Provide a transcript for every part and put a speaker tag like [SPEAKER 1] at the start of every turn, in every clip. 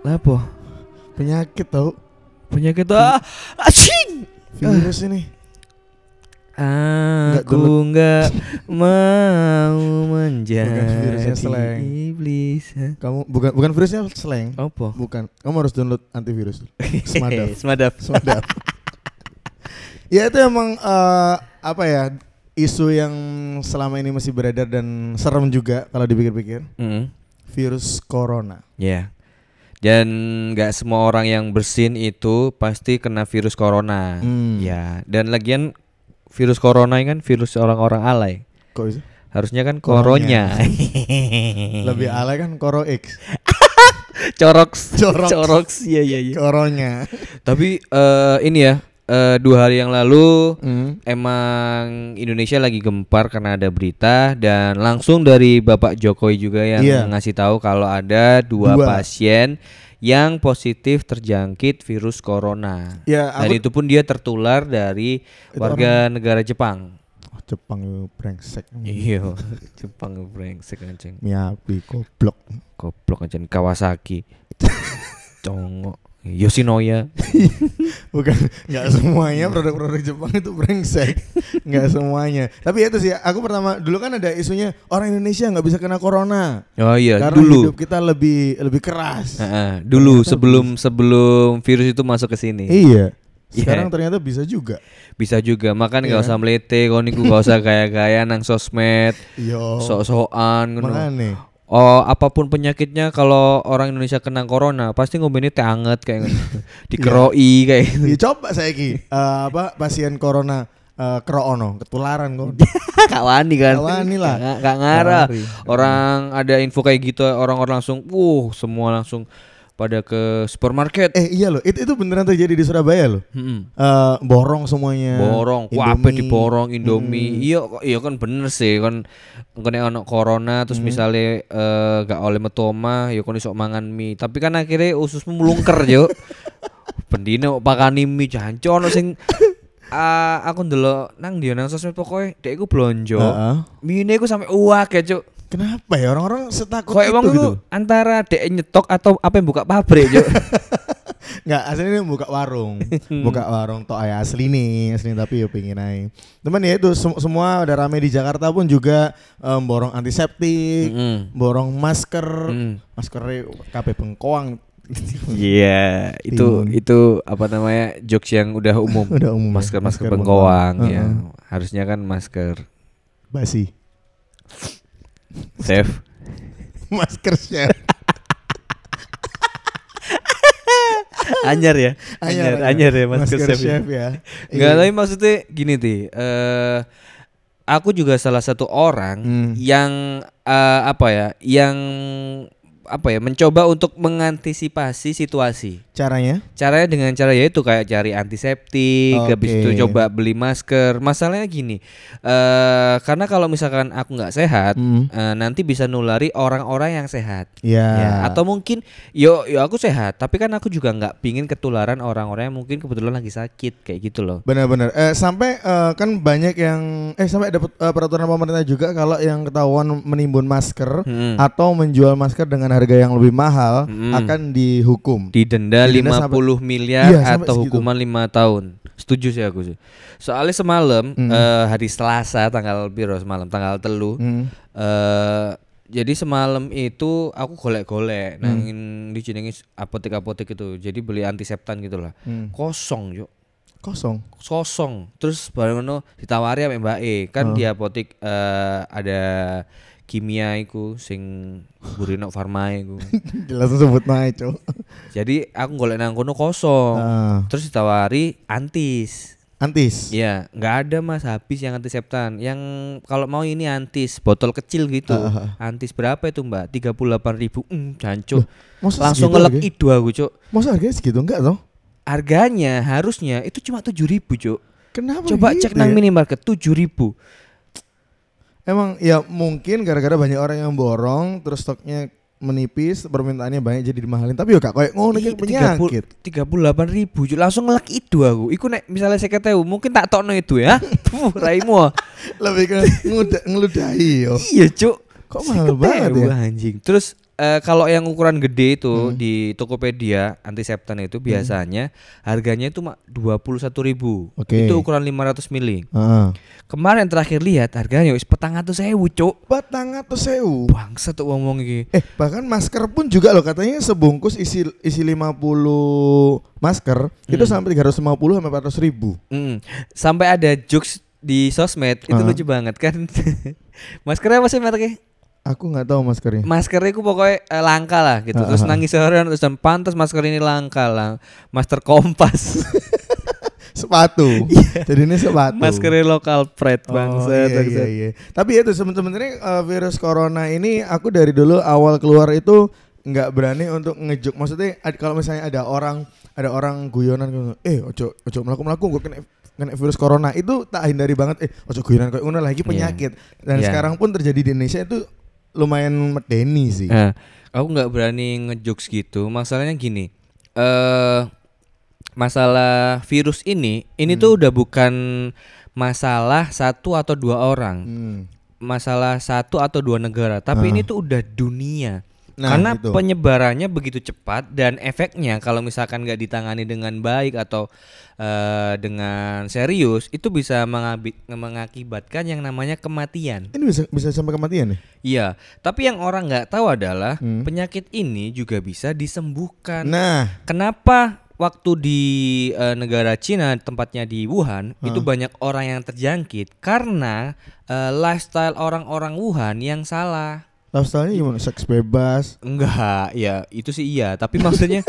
[SPEAKER 1] Apa?
[SPEAKER 2] Penyakit tau
[SPEAKER 1] Penyakit ah, acing.
[SPEAKER 2] virus ini. Nggak
[SPEAKER 1] Aku
[SPEAKER 2] gelut.
[SPEAKER 1] nggak mau menjadi
[SPEAKER 2] virusnya slang.
[SPEAKER 1] iblis. Hah?
[SPEAKER 2] Kamu bukan bukan virusnya slang.
[SPEAKER 1] Apa?
[SPEAKER 2] Bukan. Kamu harus download antivirus. Semadaf.
[SPEAKER 1] Semadaf.
[SPEAKER 2] Semadaf. ya itu emang eh, apa ya isu yang selama ini masih beredar dan serem juga kalau dipikir-pikir.
[SPEAKER 1] Mm.
[SPEAKER 2] Virus corona.
[SPEAKER 1] Ya. Dan nggak semua orang yang bersin itu pasti kena virus corona.
[SPEAKER 2] Hmm.
[SPEAKER 1] Ya. Dan lagian virus corona ini kan virus orang-orang alay.
[SPEAKER 2] Kok bisa?
[SPEAKER 1] Harusnya kan
[SPEAKER 2] Koronya.
[SPEAKER 1] koronya.
[SPEAKER 2] Lebih alay kan Koro X.
[SPEAKER 1] Coroks.
[SPEAKER 2] Coroks.
[SPEAKER 1] Coroks. Iya iya iya.
[SPEAKER 2] Koronya.
[SPEAKER 1] Tapi eh, ini ya eh, dua hari yang lalu
[SPEAKER 2] Hmm.
[SPEAKER 1] emang Indonesia lagi gempar karena ada berita dan langsung dari Bapak Jokowi juga yang
[SPEAKER 2] Iya.
[SPEAKER 1] ngasih tahu kalau ada dua,
[SPEAKER 2] Dua.
[SPEAKER 1] pasien yang positif terjangkit virus corona.
[SPEAKER 2] Ya,
[SPEAKER 1] Dan
[SPEAKER 2] aku
[SPEAKER 1] itu pun dia tertular dari warga negara Jepang.
[SPEAKER 2] Oh, Jepang itu brengsek.
[SPEAKER 1] Iya, Jepang brengsek anjing.
[SPEAKER 2] Miyabi goblok.
[SPEAKER 1] Goblok anjing Kawasaki. Congok. Yoshinoya.
[SPEAKER 2] Bukan nggak
[SPEAKER 1] Iya.
[SPEAKER 2] semuanya produk-produk Jepang itu brengsek. Nggak semuanya. Tapi ya itu sih aku pertama dulu kan ada isunya orang Indonesia nggak bisa kena corona.
[SPEAKER 1] Oh iya,
[SPEAKER 2] Karena
[SPEAKER 1] dulu. Nah,
[SPEAKER 2] hidup kita lebih lebih keras.
[SPEAKER 1] Heeh, dulu sebelum sebelum virus itu masuk ke sini.
[SPEAKER 2] Iya.
[SPEAKER 1] Iya.
[SPEAKER 2] Sekarang ternyata bisa juga.
[SPEAKER 1] Bisa juga makan
[SPEAKER 2] Iya.
[SPEAKER 1] nggak usah melete, kau niku nggak usah gaya-gaya nang sosmed,
[SPEAKER 2] Yo.
[SPEAKER 1] sok-sokan ngono.
[SPEAKER 2] Oh. Makanya.
[SPEAKER 1] Oh, apapun penyakitnya kalau orang Indonesia kena corona pasti ngomonnya teh anget kayak
[SPEAKER 2] Iya.
[SPEAKER 1] gitu. Dikeroi kayak gitu.
[SPEAKER 2] Ya, coba saya ki Eh, apa pasien corona eh, keroono ketularan kok.
[SPEAKER 1] Kak Wani kan.
[SPEAKER 2] Kak Wani lah.
[SPEAKER 1] Nggak- nggak ngarah.
[SPEAKER 2] Lari.
[SPEAKER 1] Orang ada info kayak gitu orang-orang langsung wuh semua langsung pada ke supermarket.
[SPEAKER 2] Eh iya loh, itu, itu beneran terjadi di Surabaya loh.
[SPEAKER 1] Mm-mm.
[SPEAKER 2] Eh, borong semuanya.
[SPEAKER 1] borong
[SPEAKER 2] Indomie. Hmm.
[SPEAKER 1] kuape diborong indomie iya kok- iya kan bener sih kan kena ono corona
[SPEAKER 2] Hmm.
[SPEAKER 1] terus misalnya eh, gak oleh metu omah ya kon iso mangan mie tapi kan akhirnya ususmu melungker yo pendine kok pakani mie jancu ono sing ah, aku ndelok nang dia nang sosmed pokoknya dek iku blonjo
[SPEAKER 2] Heeh.
[SPEAKER 1] mie ini aku sampe uak ya cuk
[SPEAKER 2] Kenapa ya orang-orang setakut
[SPEAKER 1] Kayak
[SPEAKER 2] itu
[SPEAKER 1] wong
[SPEAKER 2] gitu?
[SPEAKER 1] itu antara dek nyetok atau apa yang buka pabrik yo.
[SPEAKER 2] Enggak, aslinya dia buka warung. buka warung tok ae asli nih, asli tapi ya pengen naik. Teman ya itu sem- semua udah rame di Jakarta pun juga em, borong antiseptik,
[SPEAKER 1] Mm-mm.
[SPEAKER 2] borong masker,
[SPEAKER 1] Mm.
[SPEAKER 2] masker KB bengkoang
[SPEAKER 1] Iya, itu
[SPEAKER 2] Timun.
[SPEAKER 1] itu apa namanya jokes yang udah umum.
[SPEAKER 2] Udah umum ya,
[SPEAKER 1] Masker masker,
[SPEAKER 2] masker
[SPEAKER 1] bengkoang ya.
[SPEAKER 2] bengkoang.
[SPEAKER 1] Harusnya kan masker
[SPEAKER 2] basi.
[SPEAKER 1] safe.
[SPEAKER 2] masker chef.
[SPEAKER 1] anyar ya. Anyar, anyar ya masker, safe.
[SPEAKER 2] chef ya.
[SPEAKER 1] Enggak,
[SPEAKER 2] Iya.
[SPEAKER 1] tapi maksudnya gini ti. eh aku juga salah satu orang
[SPEAKER 2] Hmm.
[SPEAKER 1] yang eh, apa ya, yang apa ya mencoba untuk mengantisipasi situasi.
[SPEAKER 2] Iya, Caranya?
[SPEAKER 1] Caranya dengan cara yaitu kayak cari antiseptik, habis itu
[SPEAKER 2] Oke.
[SPEAKER 1] coba beli masker. Masalahnya gini, eh karena kalau misalkan aku nggak sehat,
[SPEAKER 2] Hmm.
[SPEAKER 1] eh, nanti bisa nulari orang-orang yang sehat.
[SPEAKER 2] Ya.
[SPEAKER 1] Ya, atau mungkin yo yo aku sehat, tapi kan aku juga nggak pingin ketularan orang-orang yang mungkin kebetulan lagi sakit kayak gitu loh.
[SPEAKER 2] Benar-benar. Eh, sampai eh, kan banyak yang eh sampai dapat eh, peraturan pemerintah juga kalau yang ketahuan menimbun masker
[SPEAKER 1] Mm-mm.
[SPEAKER 2] atau menjual masker dengan harga yang lebih mahal
[SPEAKER 1] Mm-mm.
[SPEAKER 2] akan dihukum.
[SPEAKER 1] Didenda
[SPEAKER 2] Didenda
[SPEAKER 1] 50
[SPEAKER 2] sampai-
[SPEAKER 1] miliar
[SPEAKER 2] Iya, sampai
[SPEAKER 1] atau
[SPEAKER 2] segitu.
[SPEAKER 1] hukuman 5 tahun. Setuju sih aku sih. Soalnya semalam eh, hari Selasa tanggal biru semalam tanggal telu
[SPEAKER 2] Hmm.
[SPEAKER 1] eh jadi semalam itu aku
[SPEAKER 2] Hmm.
[SPEAKER 1] golek-golek nangin di jenenge apotek-apotek itu. Jadi beli antiseptan gitu lah.
[SPEAKER 2] Hmm.
[SPEAKER 1] Kosong, Yuk.
[SPEAKER 2] Kosong.
[SPEAKER 1] Kosong. Terus bareng ngono ditawari sama Mbak E.
[SPEAKER 2] Oh.
[SPEAKER 1] Kan di apotek eh, ada kimia iku sing Burino Farma iku.
[SPEAKER 2] Jelas sebut nah naik, Cok.
[SPEAKER 1] Oh. Jadi aku golek nang kono kosong.
[SPEAKER 2] Ah,
[SPEAKER 1] Terus ditawari antis.
[SPEAKER 2] antis.
[SPEAKER 1] Iya, nggak ada mas habis yang antiseptan. Yang kalau mau ini antis, botol kecil gitu.
[SPEAKER 2] Ah,
[SPEAKER 1] Antis berapa itu mbak? 38.000 ribu. Hmm, jancu.
[SPEAKER 2] Masa
[SPEAKER 1] Langsung
[SPEAKER 2] segitu
[SPEAKER 1] ngelek
[SPEAKER 2] harganya?
[SPEAKER 1] idu aku cuk.
[SPEAKER 2] Masa harganya segitu enggak toh?
[SPEAKER 1] Harganya harusnya itu cuma 7.000 ribu cuk.
[SPEAKER 2] Kenapa?
[SPEAKER 1] Coba
[SPEAKER 2] gitu
[SPEAKER 1] cek nang
[SPEAKER 2] ya?
[SPEAKER 1] minimarket 7.000 ribu.
[SPEAKER 2] Emang ya mungkin gara-gara banyak orang yang borong terus stoknya menipis, permintaannya banyak jadi dimahalin. Tapi yo kak kayak ngono kan penyakit.
[SPEAKER 1] Tiga puluh delapan ribu, Cuk. langsung ngelek idu aku. Iku nek misalnya saya mungkin tak tokno itu ya. Tuh, raimu. ah.
[SPEAKER 2] Lebih ke nguda- ngeludahi yo.
[SPEAKER 1] Iya cuk.
[SPEAKER 2] gitu. Kok
[SPEAKER 1] Seket
[SPEAKER 2] mahal banget
[SPEAKER 1] ewu,
[SPEAKER 2] ya? Hmm.
[SPEAKER 1] anjing. Terus eh, kalau yang ukuran gede itu di Tokopedia antiseptan itu biasanya harganya itu mak 21.000.
[SPEAKER 2] Oke.
[SPEAKER 1] Itu ukuran 500 mili.
[SPEAKER 2] Heeh.
[SPEAKER 1] Kemarin terakhir lihat harganya wis petang atus sewu, Cuk.
[SPEAKER 2] Batang atau sewu.
[SPEAKER 1] Bangsa tuh ngomong iki.
[SPEAKER 2] Eh bahkan masker pun juga loh katanya sebungkus isi isi 50 masker itu sampai 350 sampai 400 ribu.
[SPEAKER 1] Mm. Sampai ada jokes di sosmed itu
[SPEAKER 2] Ah.
[SPEAKER 1] lucu banget kan. Maskernya apa sih
[SPEAKER 2] Eh.
[SPEAKER 1] mereknya?
[SPEAKER 2] Aku nggak tahu maskernya.
[SPEAKER 1] Maskernya ku pokoknya eh, langka lah gitu. Terus nangis seharian terus dan pantas masker ini langka lah. Master Kompas.
[SPEAKER 2] Sepatu. Jadi ini sepatu.
[SPEAKER 1] Maskernya lokal pride
[SPEAKER 2] Oh,
[SPEAKER 1] bangsa.
[SPEAKER 2] iya, iya, iya. Tapi itu sebenarnya eh, virus corona ini aku dari dulu awal keluar itu nggak berani untuk ngejuk. Maksudnya ad- kalau misalnya ada orang ada orang guyonan gitu, eh ojo ojo melaku melaku gue kena kena virus corona itu tak hindari banget eh ojo guyonan kayak ngono lagi penyakit dan
[SPEAKER 1] Iya.
[SPEAKER 2] sekarang pun terjadi di Indonesia itu lumayan medeni sih
[SPEAKER 1] Nah, aku nggak berani ngejokes gitu. Masalahnya gini. Eh masalah virus ini ini
[SPEAKER 2] Hmm.
[SPEAKER 1] tuh udah bukan masalah satu atau dua orang.
[SPEAKER 2] Hmm. Ah.
[SPEAKER 1] Masalah satu atau dua negara, tapi ini tuh udah dunia.
[SPEAKER 2] Nah,
[SPEAKER 1] Karena
[SPEAKER 2] itu.
[SPEAKER 1] penyebarannya begitu cepat dan efeknya kalau misalkan nggak ditangani dengan baik atau eh, dengan serius itu bisa mengabi- mengakibatkan yang namanya kematian.
[SPEAKER 2] ini bisa bisa sampai kematian nih
[SPEAKER 1] Iya, tapi yang orang nggak tahu adalah penyakit ini juga bisa disembuhkan.
[SPEAKER 2] nah
[SPEAKER 1] Kenapa waktu di eh, negara Cina tempatnya di Wuhan itu banyak orang yang terjangkit karena eh, lifestyle orang-orang Wuhan yang salah.
[SPEAKER 2] lifestyle-nya gimana seks bebas
[SPEAKER 1] Enggak, ya itu sih iya, tapi maksudnya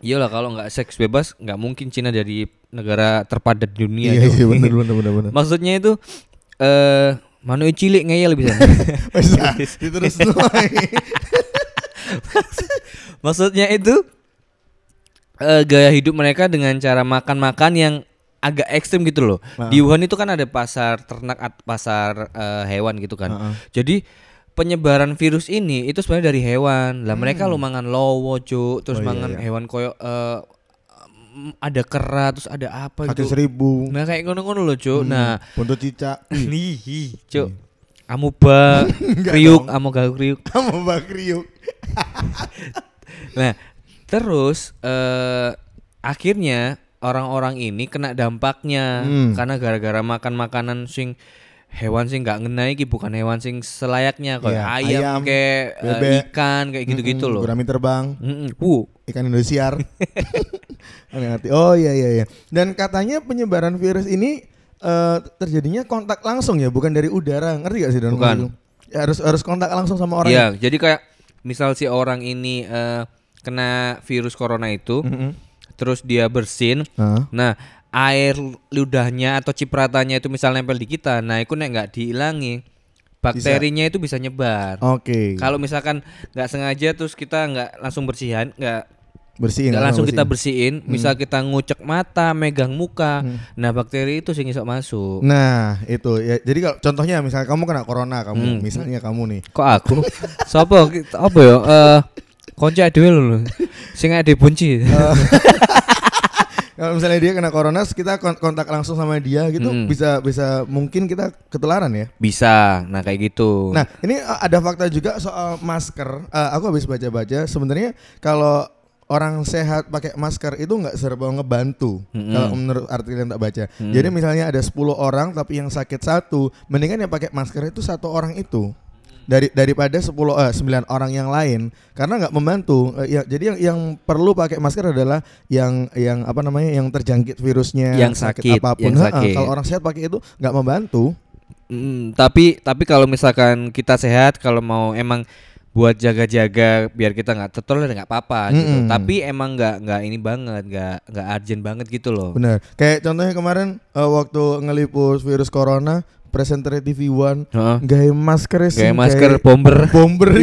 [SPEAKER 1] iyalah kalau nggak seks bebas nggak mungkin Cina dari negara terpadat di dunia.
[SPEAKER 2] iya
[SPEAKER 1] Jo.
[SPEAKER 2] iya bener bener bener bener
[SPEAKER 1] Maksudnya itu eh manusia cilik ngeyel bisa.
[SPEAKER 2] bisa diterus
[SPEAKER 1] Maksudnya itu eh, gaya hidup mereka dengan cara makan-makan yang agak ekstrim gitu loh. Di Wuhan itu kan ada pasar ternak, at- pasar eh, hewan gitu kan. Jadi penyebaran virus ini itu sebenarnya dari hewan. Lah mereka lu mangan lowo, Cuk, terus mangan hewan koyo eh, em, ada kera, terus ada apa
[SPEAKER 2] satu
[SPEAKER 1] gitu.
[SPEAKER 2] seribu
[SPEAKER 1] Nah kayak ngono-ngono loh, Cuk. Nah,
[SPEAKER 2] Buntut cicak
[SPEAKER 1] Ih, Cuk. Amuba, kriuk, amoga kriuk.
[SPEAKER 2] sama Mbak Kriuk.
[SPEAKER 1] Nah, terus eh akhirnya orang-orang ini kena dampaknya
[SPEAKER 2] Hmm.
[SPEAKER 1] karena gara-gara makan makanan sing hewan sing nggak ngenai ki bukan hewan sing selayaknya kayak
[SPEAKER 2] Iya,
[SPEAKER 1] ayam,
[SPEAKER 2] ayam,
[SPEAKER 1] kayak eh,
[SPEAKER 2] bebek. Hmm,
[SPEAKER 1] ikan kayak gitu-gitu
[SPEAKER 2] Mm-mm,
[SPEAKER 1] loh.
[SPEAKER 2] Gurami terbang,
[SPEAKER 1] Mm-mm. Wuh,
[SPEAKER 2] ikan Indosiar. Hati-hati. oh iya iya iya. Dan katanya penyebaran virus ini eh, terjadinya kontak langsung ya, bukan dari udara. Ngerti gak sih Don?
[SPEAKER 1] Bukan.
[SPEAKER 2] Ya, harus harus kontak langsung sama orang.
[SPEAKER 1] Iya, jadi kayak misal si orang ini eh, kena virus corona itu, terus dia bersin,
[SPEAKER 2] Hah?
[SPEAKER 1] nah air ludahnya atau cipratannya itu misal nempel di kita, nah itu nek nggak dihilangi, bakterinya itu bisa nyebar.
[SPEAKER 2] Oke.
[SPEAKER 1] Kalau misalkan nggak sengaja terus kita nggak langsung bersihan, nggak
[SPEAKER 2] Bersihin.
[SPEAKER 1] Iya, nggak
[SPEAKER 2] ah,
[SPEAKER 1] langsung kita
[SPEAKER 2] bersihin.
[SPEAKER 1] bersihin, Hmm. misal kita ngucek mata, megang muka, nah bakteri itu sih ngisok masuk.
[SPEAKER 2] Nah, itu ya. Jadi kalau contohnya misalnya kamu kena corona
[SPEAKER 1] Hmm.
[SPEAKER 2] kamu, misalnya kamu nih.
[SPEAKER 1] Kok aku? Sopo? Apa ya? Eh konco dhewe lho. Sing ade bunci.
[SPEAKER 2] Kalau misalnya dia kena corona, terus kita kon- kontak langsung sama dia gitu,
[SPEAKER 1] Hmm.
[SPEAKER 2] bisa bisa mungkin kita ketularan ya.
[SPEAKER 1] Bisa. Nah, kayak gitu.
[SPEAKER 2] Nah, ini uh, ada fakta juga soal masker. Uh, aku habis baca-baca sebenarnya kalau orang sehat pakai masker itu nggak serba ngebantu kalau menurut artikel yang tak baca.
[SPEAKER 1] Mm.
[SPEAKER 2] Jadi misalnya ada 10 orang tapi yang sakit satu, mendingan yang pakai masker itu satu orang itu. Dari daripada 10 eh, 9 orang yang lain karena nggak membantu. Eh, ya, jadi yang yang perlu pakai masker adalah yang yang apa namanya yang terjangkit virusnya,
[SPEAKER 1] Yang sakit, yang
[SPEAKER 2] apapun. Ha-ha,
[SPEAKER 1] sakit.
[SPEAKER 2] Kalau orang sehat pakai itu nggak membantu.
[SPEAKER 1] Mm, tapi tapi kalau misalkan kita sehat, kalau mau emang buat jaga-jaga biar kita nggak tertular nggak apa-apa gitu.
[SPEAKER 2] Mm-mm.
[SPEAKER 1] Tapi emang nggak nggak ini banget, nggak nggak urgent banget gitu loh.
[SPEAKER 2] Benar. Kayak contohnya kemarin eh, waktu ngeliput virus corona, presenter TV One
[SPEAKER 1] Heeh.
[SPEAKER 2] gaya masker sih.
[SPEAKER 1] Kayak masker bomber.
[SPEAKER 2] bomber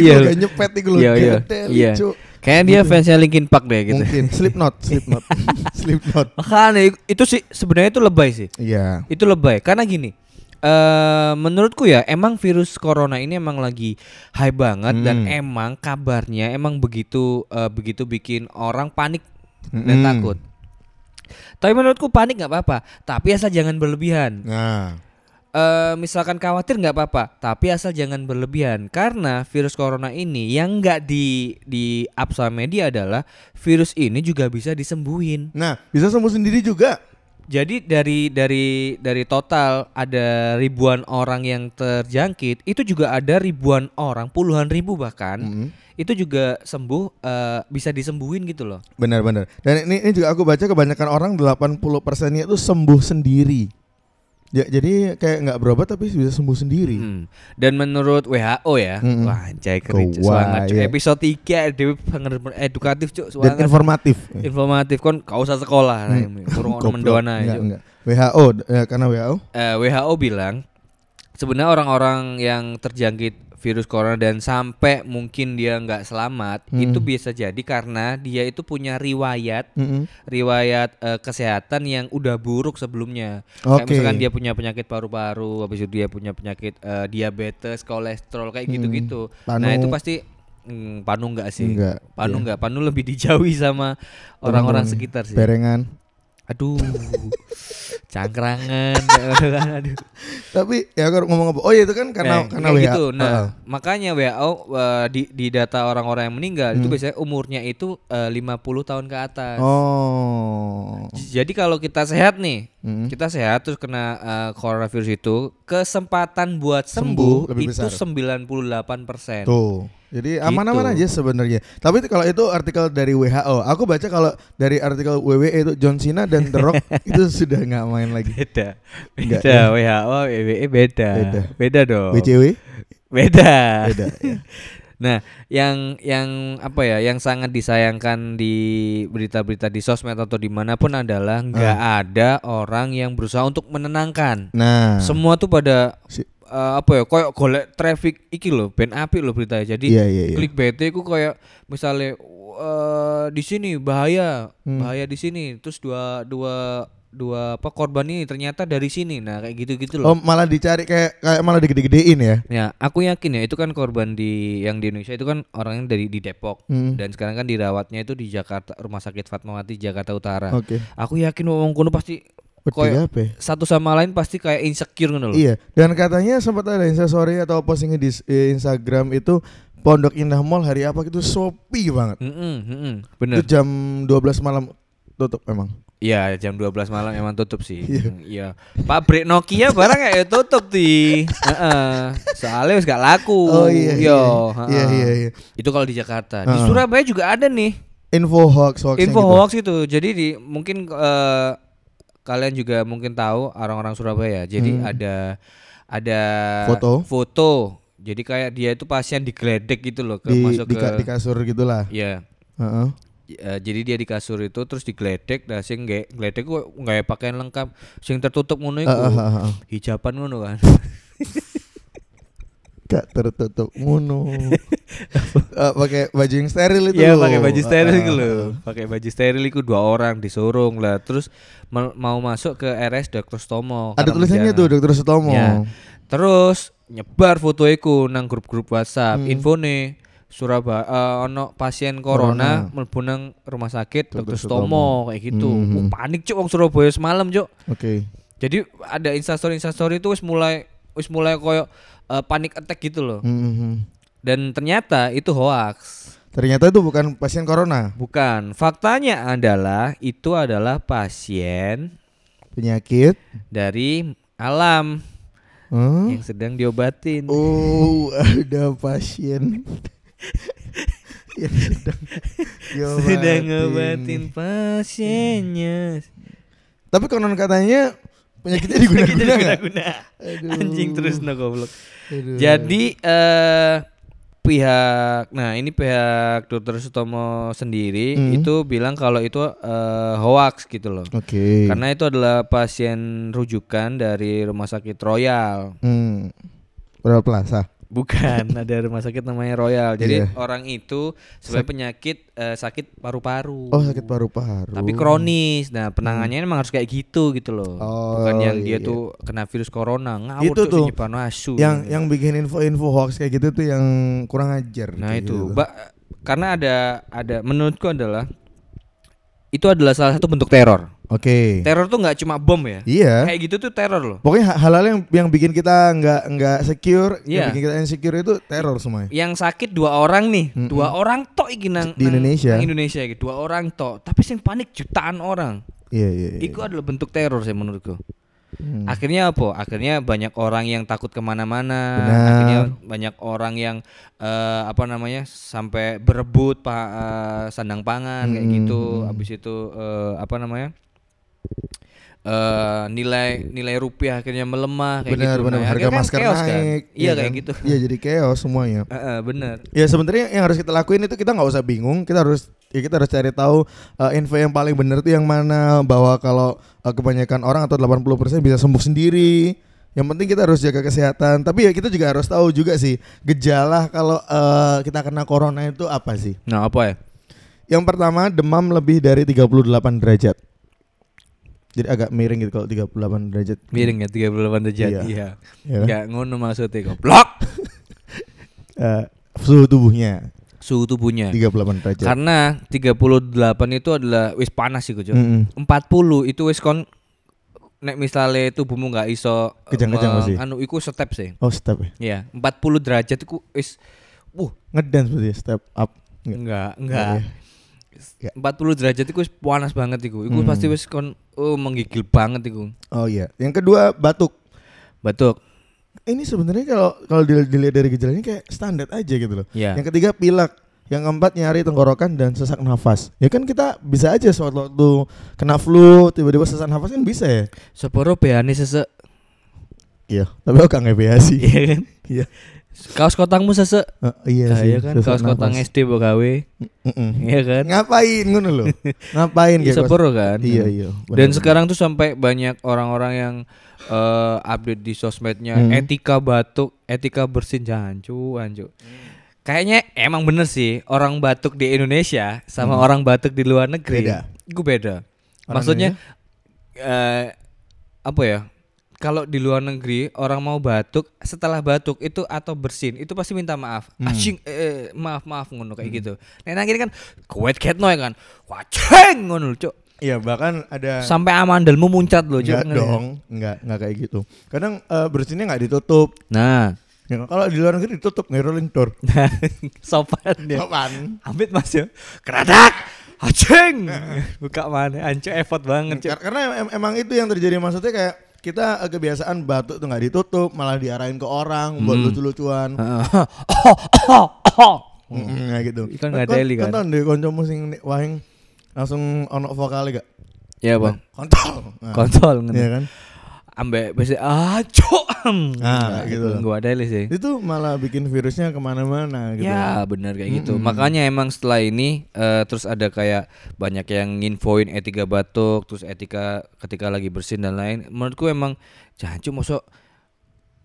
[SPEAKER 1] Iya.
[SPEAKER 2] iya. gaya nyepet iku lho.
[SPEAKER 1] Iya, iya.
[SPEAKER 2] Gedel,
[SPEAKER 1] Iya.
[SPEAKER 2] cuk.
[SPEAKER 1] Kayaknya dia fansnya Linkin Park deh gitu.
[SPEAKER 2] Gitu ya. Mungkin Slipknot, Slipknot. Slipknot.
[SPEAKER 1] Makanya i- itu sih sebenarnya itu lebay sih.
[SPEAKER 2] Iya.
[SPEAKER 1] Itu lebay karena gini. eh menurutku ya emang virus corona ini emang lagi high banget dan emang kabarnya emang begitu eh, begitu bikin orang panik dan
[SPEAKER 2] Mm-mm.
[SPEAKER 1] takut. Tapi menurutku panik nggak apa-apa, tapi asal jangan berlebihan.
[SPEAKER 2] Nah,
[SPEAKER 1] eh, misalkan khawatir nggak apa-apa, tapi asal jangan berlebihan karena virus corona ini yang nggak di di up sama media adalah virus ini juga bisa disembuhin.
[SPEAKER 2] Nah, bisa sembuh sendiri juga.
[SPEAKER 1] Jadi dari dari dari total ada ribuan orang yang terjangkit, itu juga ada ribuan orang, puluhan ribu bahkan,
[SPEAKER 2] Mm-hmm.
[SPEAKER 1] itu juga sembuh eh, bisa disembuhin gitu loh.
[SPEAKER 2] Benar-benar. Dan ini, ini juga aku baca kebanyakan orang 80 persennya itu sembuh sendiri. Ya, jadi kayak nggak berobat tapi bisa sembuh sendiri.
[SPEAKER 1] Hmm. Dan menurut WHO ya,
[SPEAKER 2] Mm-mm.
[SPEAKER 1] wah anjay keren Cuk,
[SPEAKER 2] Kewah,
[SPEAKER 1] semangat Cuk.
[SPEAKER 2] Mm-hmm. iya.
[SPEAKER 1] Episode 3 Dewi bener-bener edukatif Cuk,
[SPEAKER 2] Dan
[SPEAKER 1] semangat.
[SPEAKER 2] informatif.
[SPEAKER 1] informatif kon kau usah sekolah nah, kurung ono
[SPEAKER 2] Goblok.
[SPEAKER 1] mendoana
[SPEAKER 2] Nggak,
[SPEAKER 1] Cuk.
[SPEAKER 2] nggak. WHO eh, karena WHO.
[SPEAKER 1] Eh, WHO bilang sebenarnya orang-orang yang terjangkit virus corona dan sampai mungkin dia nggak selamat
[SPEAKER 2] Hmm.
[SPEAKER 1] itu bisa jadi karena dia itu punya riwayat
[SPEAKER 2] Mm-mm.
[SPEAKER 1] riwayat eh, kesehatan yang udah buruk sebelumnya. Kayak
[SPEAKER 2] Oke.
[SPEAKER 1] misalkan dia punya penyakit paru-paru, habis itu dia punya penyakit eh, diabetes, kolesterol kayak gitu-gitu.
[SPEAKER 2] Hmm. Panu.
[SPEAKER 1] Nah, itu pasti hmm, panu enggak sih?
[SPEAKER 2] Enggak, iya.
[SPEAKER 1] Panu enggak, panu lebih dijauhi sama orang-orang
[SPEAKER 2] Teman-teman
[SPEAKER 1] sekitar sih.
[SPEAKER 2] Berengan.
[SPEAKER 1] Aduh. Cangkrangan. Aduh.
[SPEAKER 2] Tapi ya aku ngomong apa? Oh ya itu kan karena
[SPEAKER 1] Nah,
[SPEAKER 2] karena Ah.
[SPEAKER 1] kayak
[SPEAKER 2] WHO.
[SPEAKER 1] gitu. Nah,
[SPEAKER 2] Heeh.
[SPEAKER 1] makanya WHO eh, di di data orang-orang yang meninggal
[SPEAKER 2] Hmm.
[SPEAKER 1] itu biasanya umurnya itu eh, 50 tahun ke atas.
[SPEAKER 2] Oh.
[SPEAKER 1] Jadi kalau kita sehat nih,
[SPEAKER 2] Mm.
[SPEAKER 1] kita sehat terus kena eh, coronavirus itu, kesempatan buat sembuh,
[SPEAKER 2] Sembuh lebih
[SPEAKER 1] itu
[SPEAKER 2] besar.
[SPEAKER 1] 98%.
[SPEAKER 2] Tuh.
[SPEAKER 1] Gitu.
[SPEAKER 2] Jadi aman-aman aja sebenarnya. Tapi itu kalau itu artikel dari WHO, aku baca kalau dari artikel WWE itu John Cena dan The Rock itu sudah nggak main lagi.
[SPEAKER 1] Beda.
[SPEAKER 2] Enggak,
[SPEAKER 1] Beda
[SPEAKER 2] iya.
[SPEAKER 1] WHO, WWE beda.
[SPEAKER 2] Beda.
[SPEAKER 1] Beda dong.
[SPEAKER 2] WCW?
[SPEAKER 1] Beda.
[SPEAKER 2] Beda. ya.
[SPEAKER 1] Nah, yang yang apa ya, yang sangat disayangkan di berita-berita di sosmed atau dimanapun
[SPEAKER 2] Ah.
[SPEAKER 1] adalah nggak ada orang yang berusaha untuk menenangkan.
[SPEAKER 2] Nah,
[SPEAKER 1] Semua tuh pada
[SPEAKER 2] si-
[SPEAKER 1] eh, apa ya, koyok golek traffic iki loh, ben api loh beritanya. Jadi
[SPEAKER 2] iya iya iya.
[SPEAKER 1] klik BT ku kayak misalnya eh, di sini bahaya,
[SPEAKER 2] Hmm.
[SPEAKER 1] bahaya di sini. Terus dua dua dua apa korban ini ternyata dari sini. Nah, kayak gitu-gitu loh.
[SPEAKER 2] Oh, malah dicari kayak kayak malah digede-gedein ya.
[SPEAKER 1] Ya, aku yakin ya itu kan korban di yang di Indonesia itu kan orangnya dari di Depok
[SPEAKER 2] Hmm.
[SPEAKER 1] dan sekarang kan dirawatnya itu di Jakarta Rumah Sakit Fatmawati Jakarta Utara.
[SPEAKER 2] Oke.
[SPEAKER 1] Aku yakin wong kuno pasti
[SPEAKER 2] Pedih
[SPEAKER 1] koyo
[SPEAKER 2] apa? ya?
[SPEAKER 1] satu sama lain pasti kayak insecure ngono loh.
[SPEAKER 2] Iya, dan katanya sempat ada instastory atau postingnya di s- eh, Instagram itu Pondok Indah Mall hari apa gitu sopi banget.
[SPEAKER 1] Mm-mm, mm-mm,
[SPEAKER 2] Itu
[SPEAKER 1] bener.
[SPEAKER 2] jam 12 malam tutup emang.
[SPEAKER 1] Iya, jam 12 malam emang tutup sih. Mm, Iya. Pabrik Nokia barang ya tutup di. Heeh. Soalnya wis gak laku. Yo,
[SPEAKER 2] Oh, iya. Iya
[SPEAKER 1] heeh.
[SPEAKER 2] iya iya.
[SPEAKER 1] Itu kalau di Jakarta. Di Surabaya juga ada nih.
[SPEAKER 2] Info hoax gitu. hoax
[SPEAKER 1] info hoax itu gitu. jadi di mungkin eh, kalian juga mungkin tahu orang-orang Surabaya jadi ada ada
[SPEAKER 2] Hmm. Foto.
[SPEAKER 1] foto jadi kayak dia itu pasien digledek gitu loh ke
[SPEAKER 2] di,
[SPEAKER 1] masuk
[SPEAKER 2] di,
[SPEAKER 1] ke
[SPEAKER 2] ka- di kasur gitulah.
[SPEAKER 1] ya
[SPEAKER 2] Heeh.
[SPEAKER 1] Eh, jadi dia di kasur itu terus digledek nah sing nggak gledek kok nggak pakaian lengkap sing tertutup ngono iku
[SPEAKER 2] Heeh, heeh, heeh.
[SPEAKER 1] hijaban ngono kan
[SPEAKER 2] Gak tertutup ngono. Eh, pakai baju yang steril itu.
[SPEAKER 1] Iya
[SPEAKER 2] loh.
[SPEAKER 1] pakai baju steril
[SPEAKER 2] Heeh.
[SPEAKER 1] gitu loh. Pakai baju steril itu dua orang disorong lah. Terus mal- mau masuk ke RS Dr. Stomo.
[SPEAKER 2] Ada tulisannya tuh Dokter Sutomo.
[SPEAKER 1] Ya. Terus nyebar foto iku nang grup-grup WhatsApp. Infone Surabaya eh, ono pasien corona, mlebu nang rumah sakit Dr. Stomo kayak gitu. Wah, panik cuk wong Surabaya semalam cuk.
[SPEAKER 2] Oke.
[SPEAKER 1] Jadi ada instastory instastory itu wis mulai wis mulai koyo eh, panic attack gitu loh.
[SPEAKER 2] Mhm.
[SPEAKER 1] Dan ternyata itu hoax.
[SPEAKER 2] Ternyata itu bukan pasien corona,
[SPEAKER 1] Bukan. Faktanya adalah itu adalah pasien
[SPEAKER 2] penyakit.
[SPEAKER 1] dari alam
[SPEAKER 2] Hah?
[SPEAKER 1] yang sedang diobatin.
[SPEAKER 2] Hmm? Oh, ada pasien yang sedang diobatin.
[SPEAKER 1] sedang ngobatin pasiennya.
[SPEAKER 2] Tapi konon katanya penyakitnya diguna-guna. nggak? Iya. Aduh.
[SPEAKER 1] Gitu, Anjing terus no goblok.
[SPEAKER 2] Aduh.
[SPEAKER 1] Jadi eh pihak nah ini pihak dokter Sutomo sendiri
[SPEAKER 2] Hmm.
[SPEAKER 1] itu bilang kalau itu eh, hoax gitu loh.
[SPEAKER 2] Oke.
[SPEAKER 1] Karena itu adalah pasien rujukan dari rumah sakit Royal.
[SPEAKER 2] Hmm. Royal Plaza.
[SPEAKER 1] Bukan, ada rumah sakit namanya Royal. Jadi
[SPEAKER 2] Iya.
[SPEAKER 1] orang itu sebenarnya penyakit eh, sakit paru-paru.
[SPEAKER 2] Oh, sakit paru-paru.
[SPEAKER 1] Uh. Tapi kronis. Nah, penanganannya emang harus kayak gitu gitu loh.
[SPEAKER 2] Hmm. Oh,
[SPEAKER 1] Bukan yang
[SPEAKER 2] iya,
[SPEAKER 1] dia
[SPEAKER 2] iya.
[SPEAKER 1] tuh kena virus corona, ngawur
[SPEAKER 2] Itu tuh,
[SPEAKER 1] nyepano asu.
[SPEAKER 2] yang yang bikin info-info hoax kayak gitu tuh yang kurang ajar.
[SPEAKER 1] Nah,
[SPEAKER 2] kayak
[SPEAKER 1] itu.
[SPEAKER 2] gitu.
[SPEAKER 1] Ba- karena ada ada menurutku adalah itu adalah salah satu bentuk teror.
[SPEAKER 2] Oke.
[SPEAKER 1] Teror tuh nggak cuma bom ya.
[SPEAKER 2] Iya.
[SPEAKER 1] Kayak gitu tuh teror loh.
[SPEAKER 2] Pokoknya ha- hal-hal yang yang bikin kita nggak nggak secure,
[SPEAKER 1] Iya.
[SPEAKER 2] yang bikin kita insecure itu teror semuanya.
[SPEAKER 1] Yang sakit dua orang nih, dua orang tok iki nang
[SPEAKER 2] Di
[SPEAKER 1] nang-
[SPEAKER 2] Indonesia.
[SPEAKER 1] nang Indonesia iki, dua orang tok. Tapi sing panik jutaan orang.
[SPEAKER 2] Iya iya. iya.
[SPEAKER 1] Iku adalah bentuk teror sih menurutku.
[SPEAKER 2] Hmm.
[SPEAKER 1] Akhirnya apa? Akhirnya banyak orang yang takut kemana-mana.
[SPEAKER 2] Benar.
[SPEAKER 1] Akhirnya banyak orang yang eh, apa namanya sampai berebut pak eh, sandang pangan
[SPEAKER 2] Hmm,
[SPEAKER 1] kayak gitu. Habis itu eh, apa namanya? eh nilai nilai rupiah akhirnya melemah kayak
[SPEAKER 2] Benar
[SPEAKER 1] gitu.
[SPEAKER 2] benar.
[SPEAKER 1] Nah,
[SPEAKER 2] Harga
[SPEAKER 1] akhirnya kan
[SPEAKER 2] masker
[SPEAKER 1] chaos, kan?
[SPEAKER 2] naik.
[SPEAKER 1] Iya kayak
[SPEAKER 2] kan?
[SPEAKER 1] gitu.
[SPEAKER 2] Iya jadi chaos semuanya.
[SPEAKER 1] Eh, eh, benar.
[SPEAKER 2] Ya sebenarnya yang harus kita lakuin itu kita nggak usah bingung, kita harus ya kita harus cari tahu uh, info yang paling benar tuh yang mana bahwa kalau uh, kebanyakan orang atau 80% bisa sembuh sendiri. Yang penting kita harus jaga kesehatan. Tapi ya kita juga harus tahu juga sih gejala kalau uh, kita kena corona itu apa sih?
[SPEAKER 1] Nah, apa ya?
[SPEAKER 2] Yang pertama demam lebih dari 38 derajat. Jadi agak miring gitu kalau 38 derajat.
[SPEAKER 1] Miring ya 38 derajat.
[SPEAKER 2] Iya.
[SPEAKER 1] Iya.
[SPEAKER 2] Ya, kan?
[SPEAKER 1] Enggak ngono maksudnya goblok.
[SPEAKER 2] Uh, suhu tubuhnya
[SPEAKER 1] Suhu tubuhnya.
[SPEAKER 2] 38
[SPEAKER 1] Eh.
[SPEAKER 2] derajat.
[SPEAKER 1] Karena 38 itu adalah wis panas sih Kojo.
[SPEAKER 2] Mm-mm.
[SPEAKER 1] 40 itu wis kon nek misale tubuhmu nggak iso eh,
[SPEAKER 2] Kejang-kejang
[SPEAKER 1] meng-
[SPEAKER 2] masih.
[SPEAKER 1] Anu iku step sih.
[SPEAKER 2] Oh, step.
[SPEAKER 1] Iya,
[SPEAKER 2] ya.
[SPEAKER 1] 40 derajat iku wis wuh,
[SPEAKER 2] Ngedance berarti ya, step up. Nggak.
[SPEAKER 1] enggak,
[SPEAKER 2] Nggak
[SPEAKER 1] enggak.
[SPEAKER 2] ya. Nggak.
[SPEAKER 1] 40 derajat iku wis panas banget iku. Iku pasti
[SPEAKER 2] Hmm.
[SPEAKER 1] wis kon oh, menggigil banget iku.
[SPEAKER 2] Oh iya. Yang kedua batuk.
[SPEAKER 1] Batuk.
[SPEAKER 2] Ini sebenarnya kalau kalau dil- dilihat dari gejalanya kayak standar aja gitu loh.
[SPEAKER 1] Iya.
[SPEAKER 2] Yang ketiga pilek. Yang keempat nyari tenggorokan dan sesak nafas. Ya kan kita bisa aja suatu waktu kena flu tiba-tiba sesak nafas kan bisa ya.
[SPEAKER 1] Seporo beane sesek.
[SPEAKER 2] Iya. Tapi aku nggak ngebea sih.
[SPEAKER 1] Iya kan?
[SPEAKER 2] Iya.
[SPEAKER 1] Kaos kotangmu sesek.
[SPEAKER 2] Eh, iya
[SPEAKER 1] Nah,
[SPEAKER 2] sih.
[SPEAKER 1] iya kan?
[SPEAKER 2] sesak
[SPEAKER 1] Kaos kotang
[SPEAKER 2] nafas.
[SPEAKER 1] SD mbok gawe.
[SPEAKER 2] Mm-mm.
[SPEAKER 1] Iya kan?
[SPEAKER 2] Ngapain ngono loh? Ngapain kayak kaos-
[SPEAKER 1] Seporo kan?
[SPEAKER 2] Iya iya.
[SPEAKER 1] Dan
[SPEAKER 2] benar.
[SPEAKER 1] sekarang tuh sampai banyak orang-orang yang eh, update di sosmednya
[SPEAKER 2] Hmm.
[SPEAKER 1] etika batuk, etika bersin jancu, ancu. Kayaknya emang bener sih orang batuk di Indonesia sama orang batuk di luar negeri.
[SPEAKER 2] Hmm. Beda.
[SPEAKER 1] Gue beda.
[SPEAKER 2] Orang
[SPEAKER 1] Maksudnya eh, apa ya? Kalau di luar negeri orang mau batuk, setelah batuk itu atau bersin itu pasti minta maaf.
[SPEAKER 2] Hmm.
[SPEAKER 1] Asing, eh, eh, maaf maaf ngono kayak gitu. Nah, nang kiri kan kuat ket noy kan. Waceng ngono lho, Cuk
[SPEAKER 2] Iya bahkan ada
[SPEAKER 1] sampai amandelmu muncat loh
[SPEAKER 2] enggak
[SPEAKER 1] jangan ya.
[SPEAKER 2] Iya dong, enggak enggak kayak gitu. Kadang eh, bersinnya nggak ditutup.
[SPEAKER 1] nah
[SPEAKER 2] Ya, kalau di luar negeri ditutup nih rolling door.
[SPEAKER 1] sopan dia
[SPEAKER 2] Apaan?
[SPEAKER 1] amit mas ya keradak aceng
[SPEAKER 2] Eh.
[SPEAKER 1] buka mana anco effort banget cuy
[SPEAKER 2] Kar- Karena em- emang itu yang terjadi maksudnya kayak kita eh, kebiasaan batuk tuh nggak ditutup, malah diarahin ke orang
[SPEAKER 1] Hmm.
[SPEAKER 2] buat lucu-lucuan.
[SPEAKER 1] Eh,
[SPEAKER 2] Mm-mm, kayak gitu.
[SPEAKER 1] Oh. Ikan nggak daily, kan?
[SPEAKER 2] Kan di koncomu sing nek wahing langsung ono vokal gak?
[SPEAKER 1] ya bang
[SPEAKER 2] Kontol. Nah,
[SPEAKER 1] kontol ngene.
[SPEAKER 2] Iya kan?
[SPEAKER 1] ambek besi aco
[SPEAKER 2] Ah, gitu loh.
[SPEAKER 1] gua ada ya. sih
[SPEAKER 2] Itu malah bikin virusnya kemana-mana gitu.
[SPEAKER 1] Ya benar kayak gitu. Makanya emang setelah ini eh, terus ada kayak banyak yang nginfoin etika batuk, terus etika ketika lagi bersin dan lain. Menurutku emang jancu mosok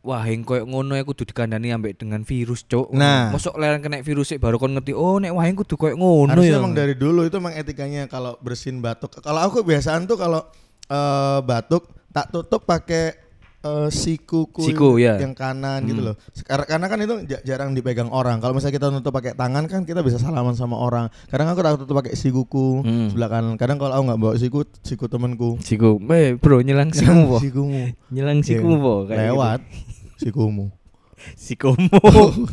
[SPEAKER 1] wah heng koyo ngono aku kudu dikandani ambek dengan virus, Cuk.
[SPEAKER 2] Nah.
[SPEAKER 1] mosok leren kena virus sik baru kon ngerti, oh nek wah heng kudu koyo ngono ya.
[SPEAKER 2] Harusnya emang dari dulu itu emang etikanya kalau bersin batuk. Kalau aku kebiasaan tuh kalau eh, batuk tak tutup pakai eh, sikuku
[SPEAKER 1] Siku, ya.
[SPEAKER 2] yang kanan gitu loh. Sekarang karena kan itu ja- jarang dipegang orang. Kalau misalnya kita tutup pakai tangan kan kita bisa salaman sama orang. Kadang aku tak tutup pakai sikuku
[SPEAKER 1] Hmm.
[SPEAKER 2] sebelah kanan. Kadang kalau aku nggak bawa siku, siku temanku.
[SPEAKER 1] Siku, eh bro nyelang sikumu po.
[SPEAKER 2] Sikumu.
[SPEAKER 1] Nyelang sikumu po kayak
[SPEAKER 2] Iya. Lewat. Sikumu.
[SPEAKER 1] gitu. Sikumu.
[SPEAKER 2] Sikumu.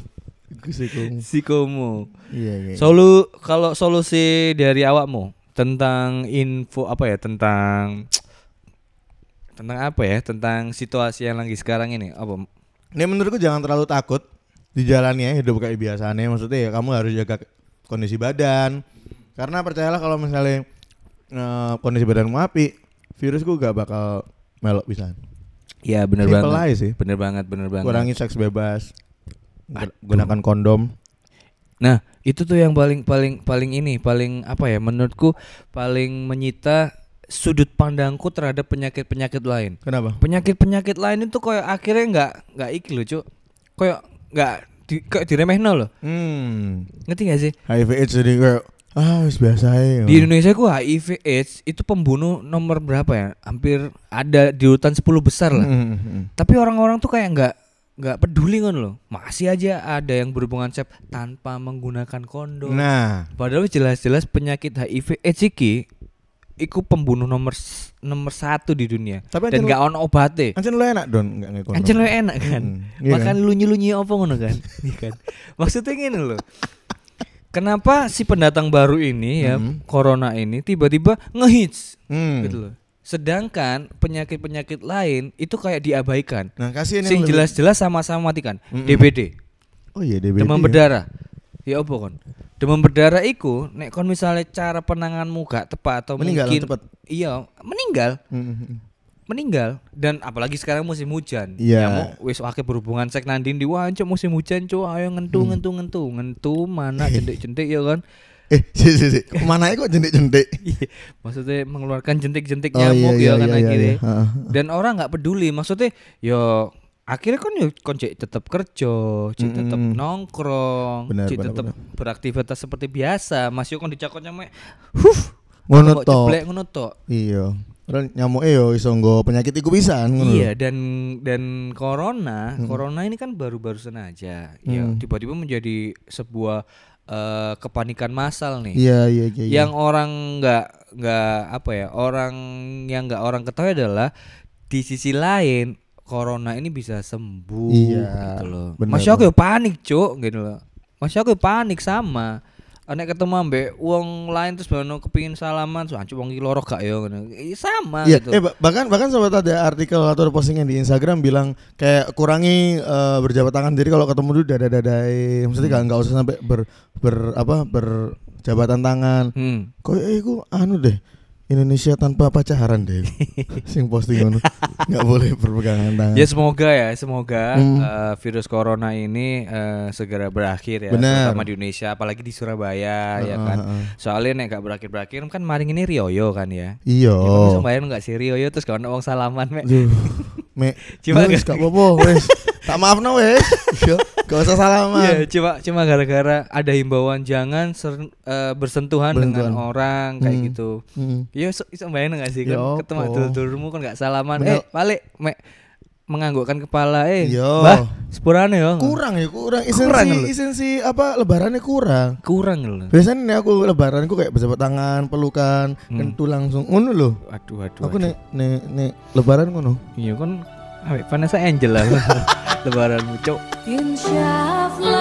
[SPEAKER 1] Sikumu.
[SPEAKER 2] Iya, iya.
[SPEAKER 1] Solu kalau solusi dari awakmu tentang info apa ya tentang tentang apa ya tentang situasi yang lagi sekarang ini apa
[SPEAKER 2] Ini menurutku jangan terlalu takut dijalani ya hidup kayak biasanya. Maksudnya ya kamu harus jaga kondisi badan. Karena percayalah kalau misalnya eh, kondisi badanmu api, virusku gak bakal melok bisa.
[SPEAKER 1] ya bener
[SPEAKER 2] Simple
[SPEAKER 1] banget
[SPEAKER 2] aja sih.
[SPEAKER 1] bener banget bener banget
[SPEAKER 2] Kurangi seks bebas.
[SPEAKER 1] Aduh.
[SPEAKER 2] Gunakan kondom.
[SPEAKER 1] nah itu tuh yang paling paling paling ini paling apa ya menurutku paling menyita sudut pandangku terhadap penyakit penyakit lain
[SPEAKER 2] Kenapa?
[SPEAKER 1] penyakit-penyakit lain itu kayak akhirnya nggak nggak iki loh cuk kayak nggak di, kayak diremehno loh
[SPEAKER 2] Hmm.
[SPEAKER 1] ngerti gak sih
[SPEAKER 2] HIV AIDS jadi kayak ah wis biasa ya.
[SPEAKER 1] Di Indonesia ku HIV AIDS itu pembunuh nomor berapa ya? Hampir ada di urutan 10 besar lah.
[SPEAKER 2] Hmm, hmm, hmm.
[SPEAKER 1] Tapi orang-orang tuh kayak nggak nggak peduli kan loh. Masih aja ada yang berhubungan seks tanpa menggunakan kondom.
[SPEAKER 2] Nah,
[SPEAKER 1] Padahal jelas-jelas penyakit HIV AIDS iki iku pembunuh nomor s- nomor satu di dunia
[SPEAKER 2] Tapi
[SPEAKER 1] dan
[SPEAKER 2] anjen-
[SPEAKER 1] gak ono obatnya
[SPEAKER 2] Ancen lu enak don enggak ngikut.
[SPEAKER 1] Ancen lu enak kan.
[SPEAKER 2] Hmm, iya
[SPEAKER 1] Makan
[SPEAKER 2] kan?
[SPEAKER 1] lunyi-lunyi apa ngono kan? Iya kan. Maksudnya gini loh. Kenapa si pendatang baru ini ya
[SPEAKER 2] Mhm.
[SPEAKER 1] corona ini tiba-tiba ngehits
[SPEAKER 2] Hmm.
[SPEAKER 1] gitu loh. Sedangkan penyakit-penyakit lain itu kayak diabaikan.
[SPEAKER 2] Nah, kasihan
[SPEAKER 1] Sing
[SPEAKER 2] lebih-
[SPEAKER 1] jelas-jelas sama-sama matikan.
[SPEAKER 2] Mhm.
[SPEAKER 1] DBD,
[SPEAKER 2] Oh iya DBD.
[SPEAKER 1] demam
[SPEAKER 2] ya.
[SPEAKER 1] berdarah. Ya apa kon? Demam berdarah iku nek kon misalnya cara penanganmu gak tepat atau
[SPEAKER 2] Meninggal
[SPEAKER 1] mungkin
[SPEAKER 2] tepat.
[SPEAKER 1] iya, meninggal
[SPEAKER 2] Hmm.
[SPEAKER 1] meninggal dan apalagi sekarang musim hujan.
[SPEAKER 2] Iya.
[SPEAKER 1] Ya, mau- wis akeh berhubungan sek nandin di wah cuk, musim hujan cuk ayo
[SPEAKER 2] Hmm.
[SPEAKER 1] ngentu ngentu ngentu ngentu mana jentik-jentik ya kan.
[SPEAKER 2] Eh, si si si. Mana kok jentik-jentik?
[SPEAKER 1] Iya, maksudnya mengeluarkan jentik-jentik
[SPEAKER 2] Oh, iya,
[SPEAKER 1] nyamuk ya
[SPEAKER 2] iya,
[SPEAKER 1] kan
[SPEAKER 2] iya, iya,
[SPEAKER 1] akhirnya.
[SPEAKER 2] iya. Heeh.
[SPEAKER 1] Dan orang nggak peduli maksudnya yo akhirnya kan yo kon cek tetep kerja, cek tetep
[SPEAKER 2] Mm-mm.
[SPEAKER 1] nongkrong,
[SPEAKER 2] Hmm, Benar,
[SPEAKER 1] cek
[SPEAKER 2] benar,
[SPEAKER 1] tetep
[SPEAKER 2] benar.
[SPEAKER 1] beraktivitas seperti biasa. Mas yo kon dicakot nyamuk. Huh.
[SPEAKER 2] Ngono
[SPEAKER 1] tembok
[SPEAKER 2] tok.
[SPEAKER 1] jeblek ngono tok.
[SPEAKER 2] Iya. Padahal nyamuke yo iso nggo penyakit iku pisan ngono.
[SPEAKER 1] Iya dan dan corona, corona ini kan baru-barusan aja. Ya, tiba-tiba menjadi sebuah eh, kepanikan massal nih.
[SPEAKER 2] Iya, iya, iya. iya.
[SPEAKER 1] Yang orang nggak nggak apa ya, orang yang nggak orang ketahui adalah di sisi lain corona ini bisa sembuh
[SPEAKER 2] Iya,
[SPEAKER 1] gitu loh.
[SPEAKER 2] bener,
[SPEAKER 1] Masya aku ya panik, Cuk, gitu loh. Masya aku ya panik sama. Nek ketemu ambek wong lain terus baru kepingin salaman, so ancu wong iki loro gak ya ngono. Iya, sama
[SPEAKER 2] Iya,
[SPEAKER 1] gitu.
[SPEAKER 2] eh, ba- bahkan bahkan sempat ada artikel atau ada postingan di Instagram bilang kayak kurangi eh, berjabat tangan diri kalau ketemu dulu dada dadai maksudnya
[SPEAKER 1] Hmm.
[SPEAKER 2] nggak nggak usah sampai ber ber apa berjabatan tangan.
[SPEAKER 1] Hmm.
[SPEAKER 2] Kok eh iku anu deh Indonesia tanpa pacaran deh. Sing posting ngono. Nggak boleh berpegangan tangan.
[SPEAKER 1] Ya semoga ya, semoga
[SPEAKER 2] Hmm.
[SPEAKER 1] eh, virus corona ini eh, segera berakhir ya,
[SPEAKER 2] Benar.
[SPEAKER 1] terutama di Indonesia, apalagi di Surabaya ya
[SPEAKER 2] Heeh,
[SPEAKER 1] kan.
[SPEAKER 2] heeh.
[SPEAKER 1] Soalnya nek gak berakhir-berakhir kan maring ini Rioyo kan ya.
[SPEAKER 2] Iya.
[SPEAKER 1] Ya, kamu bisa bayangin gak sih Rioyo terus kawan uang salaman Mek?
[SPEAKER 2] Duh, me,
[SPEAKER 1] Cuma kan-
[SPEAKER 2] wes
[SPEAKER 1] gak-
[SPEAKER 2] gak apa-apa, wes. Tak maaf no wes. Yo, gak usah
[SPEAKER 1] Iya,
[SPEAKER 2] salaman.
[SPEAKER 1] cuma cuma gara-gara ada himbauan jangan ser- eh, bersentuhan dengan
[SPEAKER 2] Bersentuhan.
[SPEAKER 1] orang kayak
[SPEAKER 2] Hmm.
[SPEAKER 1] gitu.
[SPEAKER 2] Mm.
[SPEAKER 1] Iya, so, bisa bayangin gak sih
[SPEAKER 2] Ya
[SPEAKER 1] kan ketemu
[SPEAKER 2] apa?
[SPEAKER 1] dulur-dulurmu kan gak salaman.
[SPEAKER 2] Bener.
[SPEAKER 1] Eh, balik Mek menganggukkan kepala eh.
[SPEAKER 2] Yo.
[SPEAKER 1] Bah, sepurane yo.
[SPEAKER 2] Kurang ya, kurang. Isensi,
[SPEAKER 1] Kurang loh.
[SPEAKER 2] isensi apa lebarannya kurang.
[SPEAKER 1] Kurang loh.
[SPEAKER 2] Biasanya nih aku lebaran aku kayak berjabat tangan, pelukan,
[SPEAKER 1] Hmm.
[SPEAKER 2] kentul langsung. Ngono loh.
[SPEAKER 1] Aduh, aduh.
[SPEAKER 2] Aku nek nek nek lebaran ngono.
[SPEAKER 1] Iya kan Awek Vanessa Angel lah Lebaran cok
[SPEAKER 3] انشاف لا